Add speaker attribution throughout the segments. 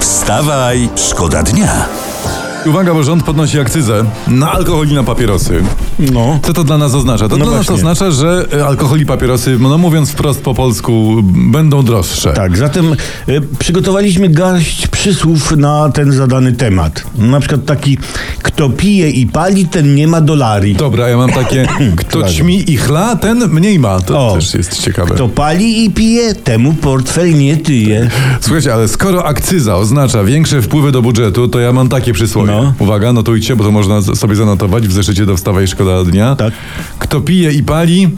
Speaker 1: Wstawaj, szkoda dnia.
Speaker 2: Uwaga, bo rząd podnosi akcyzę
Speaker 3: Na alkohol i na papierosy. No.
Speaker 2: Co to dla nas oznacza? To
Speaker 3: No
Speaker 2: dla
Speaker 3: właśnie.
Speaker 2: nas oznacza, że e, alkohol i papierosy, no mówiąc wprost po polsku, m, będą droższe.
Speaker 3: Tak, zatem e, przygotowaliśmy garść przysłów na ten zadany temat. Na przykład taki, kto pije i pali, ten nie ma dolari.
Speaker 2: Dobra, ja mam takie, kto
Speaker 3: Przepraszam.
Speaker 2: ćmi i chla, ten mniej ma. To
Speaker 3: O.
Speaker 2: też jest ciekawe.
Speaker 3: Kto pali i pije, temu portfel nie tyje.
Speaker 2: Słuchajcie, ale skoro akcyza oznacza większe wpływy do budżetu, to ja mam takie przysłowie.
Speaker 3: No.
Speaker 2: Uwaga, notujcie, bo to można z- sobie zanotować w zeszycie do wstawa i szkoda dnia.
Speaker 3: Tak.
Speaker 2: Kto pije i pali,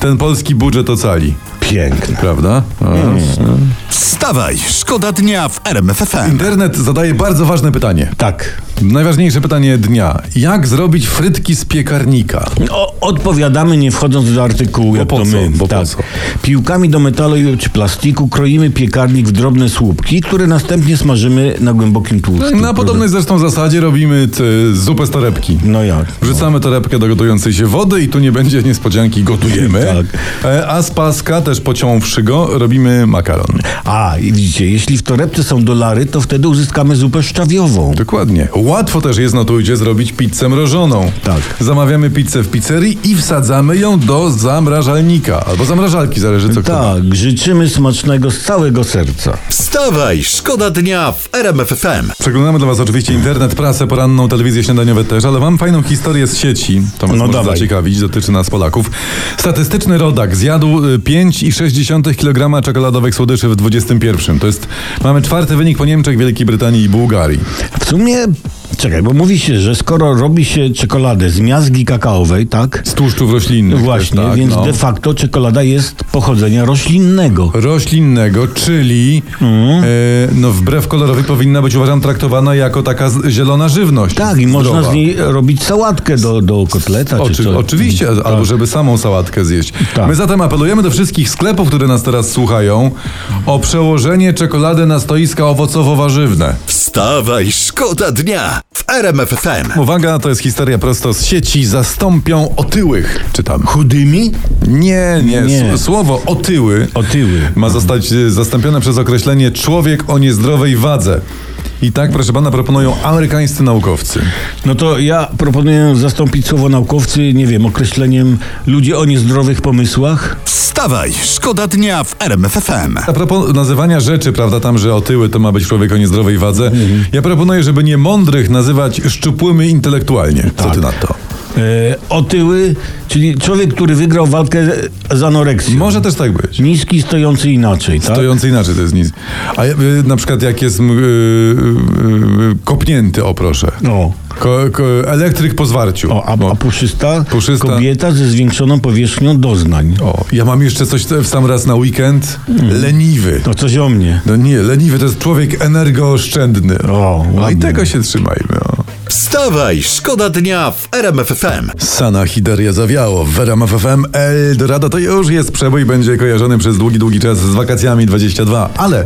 Speaker 2: ten polski budżet ocali.
Speaker 3: Piękne.
Speaker 2: Prawda? A,
Speaker 3: Hmm.
Speaker 1: Wstawaj, szkoda dnia w RMFFM.
Speaker 2: Internet zadaje bardzo ważne pytanie.
Speaker 3: Tak.
Speaker 2: Najważniejsze pytanie dnia. Jak zrobić frytki z piekarnika?
Speaker 3: O, odpowiadamy nie wchodząc do artykułu, jak
Speaker 2: po
Speaker 3: to
Speaker 2: co,
Speaker 3: my.
Speaker 2: bo po
Speaker 3: tak.
Speaker 2: co?
Speaker 3: Piłkami do metalu czy plastiku kroimy piekarnik w drobne słupki, które następnie smażymy na głębokim tłuszczu.
Speaker 2: Na podobnej zresztą zasadzie robimy t, zupę z torebki.
Speaker 3: No jak?
Speaker 2: Wrzucamy torebkę do gotującej się wody i tu nie będzie niespodzianki, gotujemy.
Speaker 3: Tak.
Speaker 2: E, A z paska, też pociąwszy go, robimy makaron.
Speaker 3: A, i widzicie, jeśli w torebce są dolary, to wtedy uzyskamy zupę szczawiową.
Speaker 2: Dokładnie. Łatwo też jest, notujcie, zrobić pizzę mrożoną.
Speaker 3: Tak.
Speaker 2: Zamawiamy pizzę w pizzerii i wsadzamy ją do zamrażalnika. Albo zamrażalki, zależy co kto ma.
Speaker 3: Tak, życzymy smacznego z całego serca.
Speaker 1: Wstawaj, szkoda dnia w RMFFM.
Speaker 2: Przeglądamy dla Was oczywiście internet, prasę poranną, telewizję śniadaniowe też, ale mam fajną historię z sieci. To Was
Speaker 3: No
Speaker 2: może
Speaker 3: dawaj.
Speaker 2: zaciekawić, dotyczy nas Polaków. Statystyczny rodak zjadł y, 5,6 kg czekoladowych słodyczy w 21. To jest, mamy czwarty wynik po Niemczech, Wielkiej Brytanii i Bułgarii.
Speaker 3: W sumie, czekaj, bo mówi się, że skoro robi się czekoladę z miazgi kakaowej, tak?
Speaker 2: Z tłuszczów roślinnych.
Speaker 3: Właśnie,
Speaker 2: też, tak,
Speaker 3: więc
Speaker 2: no.
Speaker 3: de facto czekolada jest pochodzenia roślinnego.
Speaker 2: Roślinnego, czyli
Speaker 3: Mhm.
Speaker 2: y, no wbrew kolorowi powinna być uważam traktowana jako taka z- zielona żywność.
Speaker 3: Tak, i można
Speaker 2: zdrowa.
Speaker 3: z niej robić sałatkę do, do kotleta czy
Speaker 2: Oczy,
Speaker 3: co.
Speaker 2: Oczywiście, albo żeby samą sałatkę zjeść.
Speaker 3: Tak.
Speaker 2: My zatem apelujemy do wszystkich sklepów, które nas teraz słuchają, o przełożenie czekolady na stoiska owocowo-warzywne.
Speaker 1: Wstawaj, szkoda dnia w RMFFM.
Speaker 2: Uwaga, to jest historia prosto z sieci. Zastąpią otyłych. Czytam.
Speaker 3: Chudymi?
Speaker 2: Nie, nie.
Speaker 3: Nie.
Speaker 2: s- Słowo otyły,
Speaker 3: Otyły.
Speaker 2: ma zostać y, zastąpione przez określenie człowiek o niezdrowej wadze. I tak, proszę pana, proponują amerykańscy naukowcy.
Speaker 3: No to ja proponuję zastąpić słowo naukowcy, nie wiem, określeniem ludzie o niezdrowych pomysłach.
Speaker 1: Wstawaj, szkoda dnia w RMFFM.
Speaker 2: A propos nazywania rzeczy, prawda, tam, że otyły to ma być człowiek o niezdrowej wadze,
Speaker 3: Mhm.
Speaker 2: ja proponuję, żeby nie mądrych nazywać szczupłymi intelektualnie.
Speaker 3: Tak.
Speaker 2: Co ty na to?
Speaker 3: E, otyły, czyli człowiek, który wygrał walkę z anoreksją.
Speaker 2: Może też tak być.
Speaker 3: Niski, stojący inaczej, tak?
Speaker 2: Stojący inaczej to jest nic. A ja, y, na przykład jak jest m, y, y, y, kopnięty, o proszę.
Speaker 3: No.
Speaker 2: Ko, ko, elektryk po zwarciu.
Speaker 3: O, a,
Speaker 2: Bo-
Speaker 3: a puszysta?
Speaker 2: No. Puszysta.
Speaker 3: Kobieta ze zwiększoną powierzchnią doznań.
Speaker 2: o, ja mam jeszcze coś w sam raz na weekend.
Speaker 3: Mhm.
Speaker 2: Leniwy.
Speaker 3: To coś o mnie.
Speaker 2: No nie, leniwy to jest człowiek energooszczędny.
Speaker 3: O,
Speaker 2: no i
Speaker 3: ładnie.
Speaker 2: tego się trzymajmy. no. O.
Speaker 1: Wstawaj, szkoda dnia w RMFFM.
Speaker 2: Sana Hideria zawiało. W RMF FM Eldorado to już jest przebój, będzie kojarzony przez długi, długi czas z wakacjami 22. Ale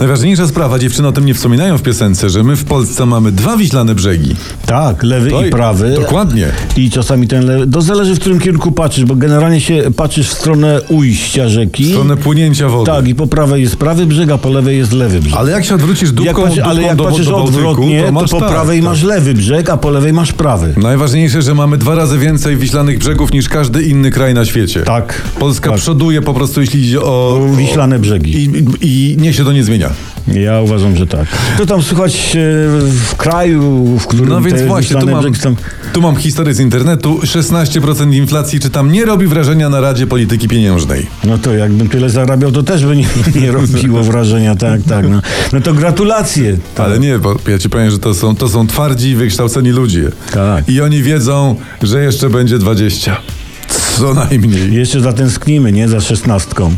Speaker 2: najważniejsza sprawa, dziewczyny o tym nie wspominają w piosence, że my w Polsce mamy dwa wiślane brzegi.
Speaker 3: Tak, lewy
Speaker 2: To
Speaker 3: i prawy.
Speaker 2: Dokładnie.
Speaker 3: I czasami ten lewy. To zależy w którym kierunku patrzysz, bo generalnie się patrzysz w stronę ujścia rzeki.
Speaker 2: W stronę płynięcia wody.
Speaker 3: Tak, i po prawej jest prawy brzeg, a po lewej jest lewy brzeg.
Speaker 2: Ale jak się odwrócisz dupką,
Speaker 3: jak patrz,
Speaker 2: dupką
Speaker 3: ale jak
Speaker 2: do,
Speaker 3: patrzysz
Speaker 2: do Bałtyku,
Speaker 3: odwrotnie, to,
Speaker 2: masz
Speaker 3: po
Speaker 2: tak,
Speaker 3: prawej
Speaker 2: tak.
Speaker 3: masz lewy brzeg, a po lewej masz prawy.
Speaker 2: Najważniejsze, że mamy dwa razy więcej wiślanych brzegów niż każdy inny kraj na świecie.
Speaker 3: Tak.
Speaker 2: Polska
Speaker 3: Tak.
Speaker 2: przoduje po prostu, jeśli idzie o...
Speaker 3: O wiślane brzegi.
Speaker 2: I, I niech się to nie zmienia.
Speaker 3: Ja uważam, że tak. To tam słychać e, w kraju, w którym
Speaker 2: No więc
Speaker 3: te
Speaker 2: właśnie, tu
Speaker 3: wiślane
Speaker 2: mam,
Speaker 3: brzegi są-
Speaker 2: tu mam historię z internetu. 16% inflacji, czy tam nie robi wrażenia na Radzie Polityki Pieniężnej.
Speaker 3: No to jakbym tyle zarabiał, to też by nie, nie robiło wrażenia, tak, tak. No, no to gratulacje. Tak.
Speaker 2: Ale nie, bo ja ci powiem, że to są, to są twardzi, wykształceni ludzie.
Speaker 3: Tak.
Speaker 2: I oni wiedzą, że jeszcze będzie 20. Co najmniej.
Speaker 3: Jeszcze zatęsknimy, nie? Za szesnastką.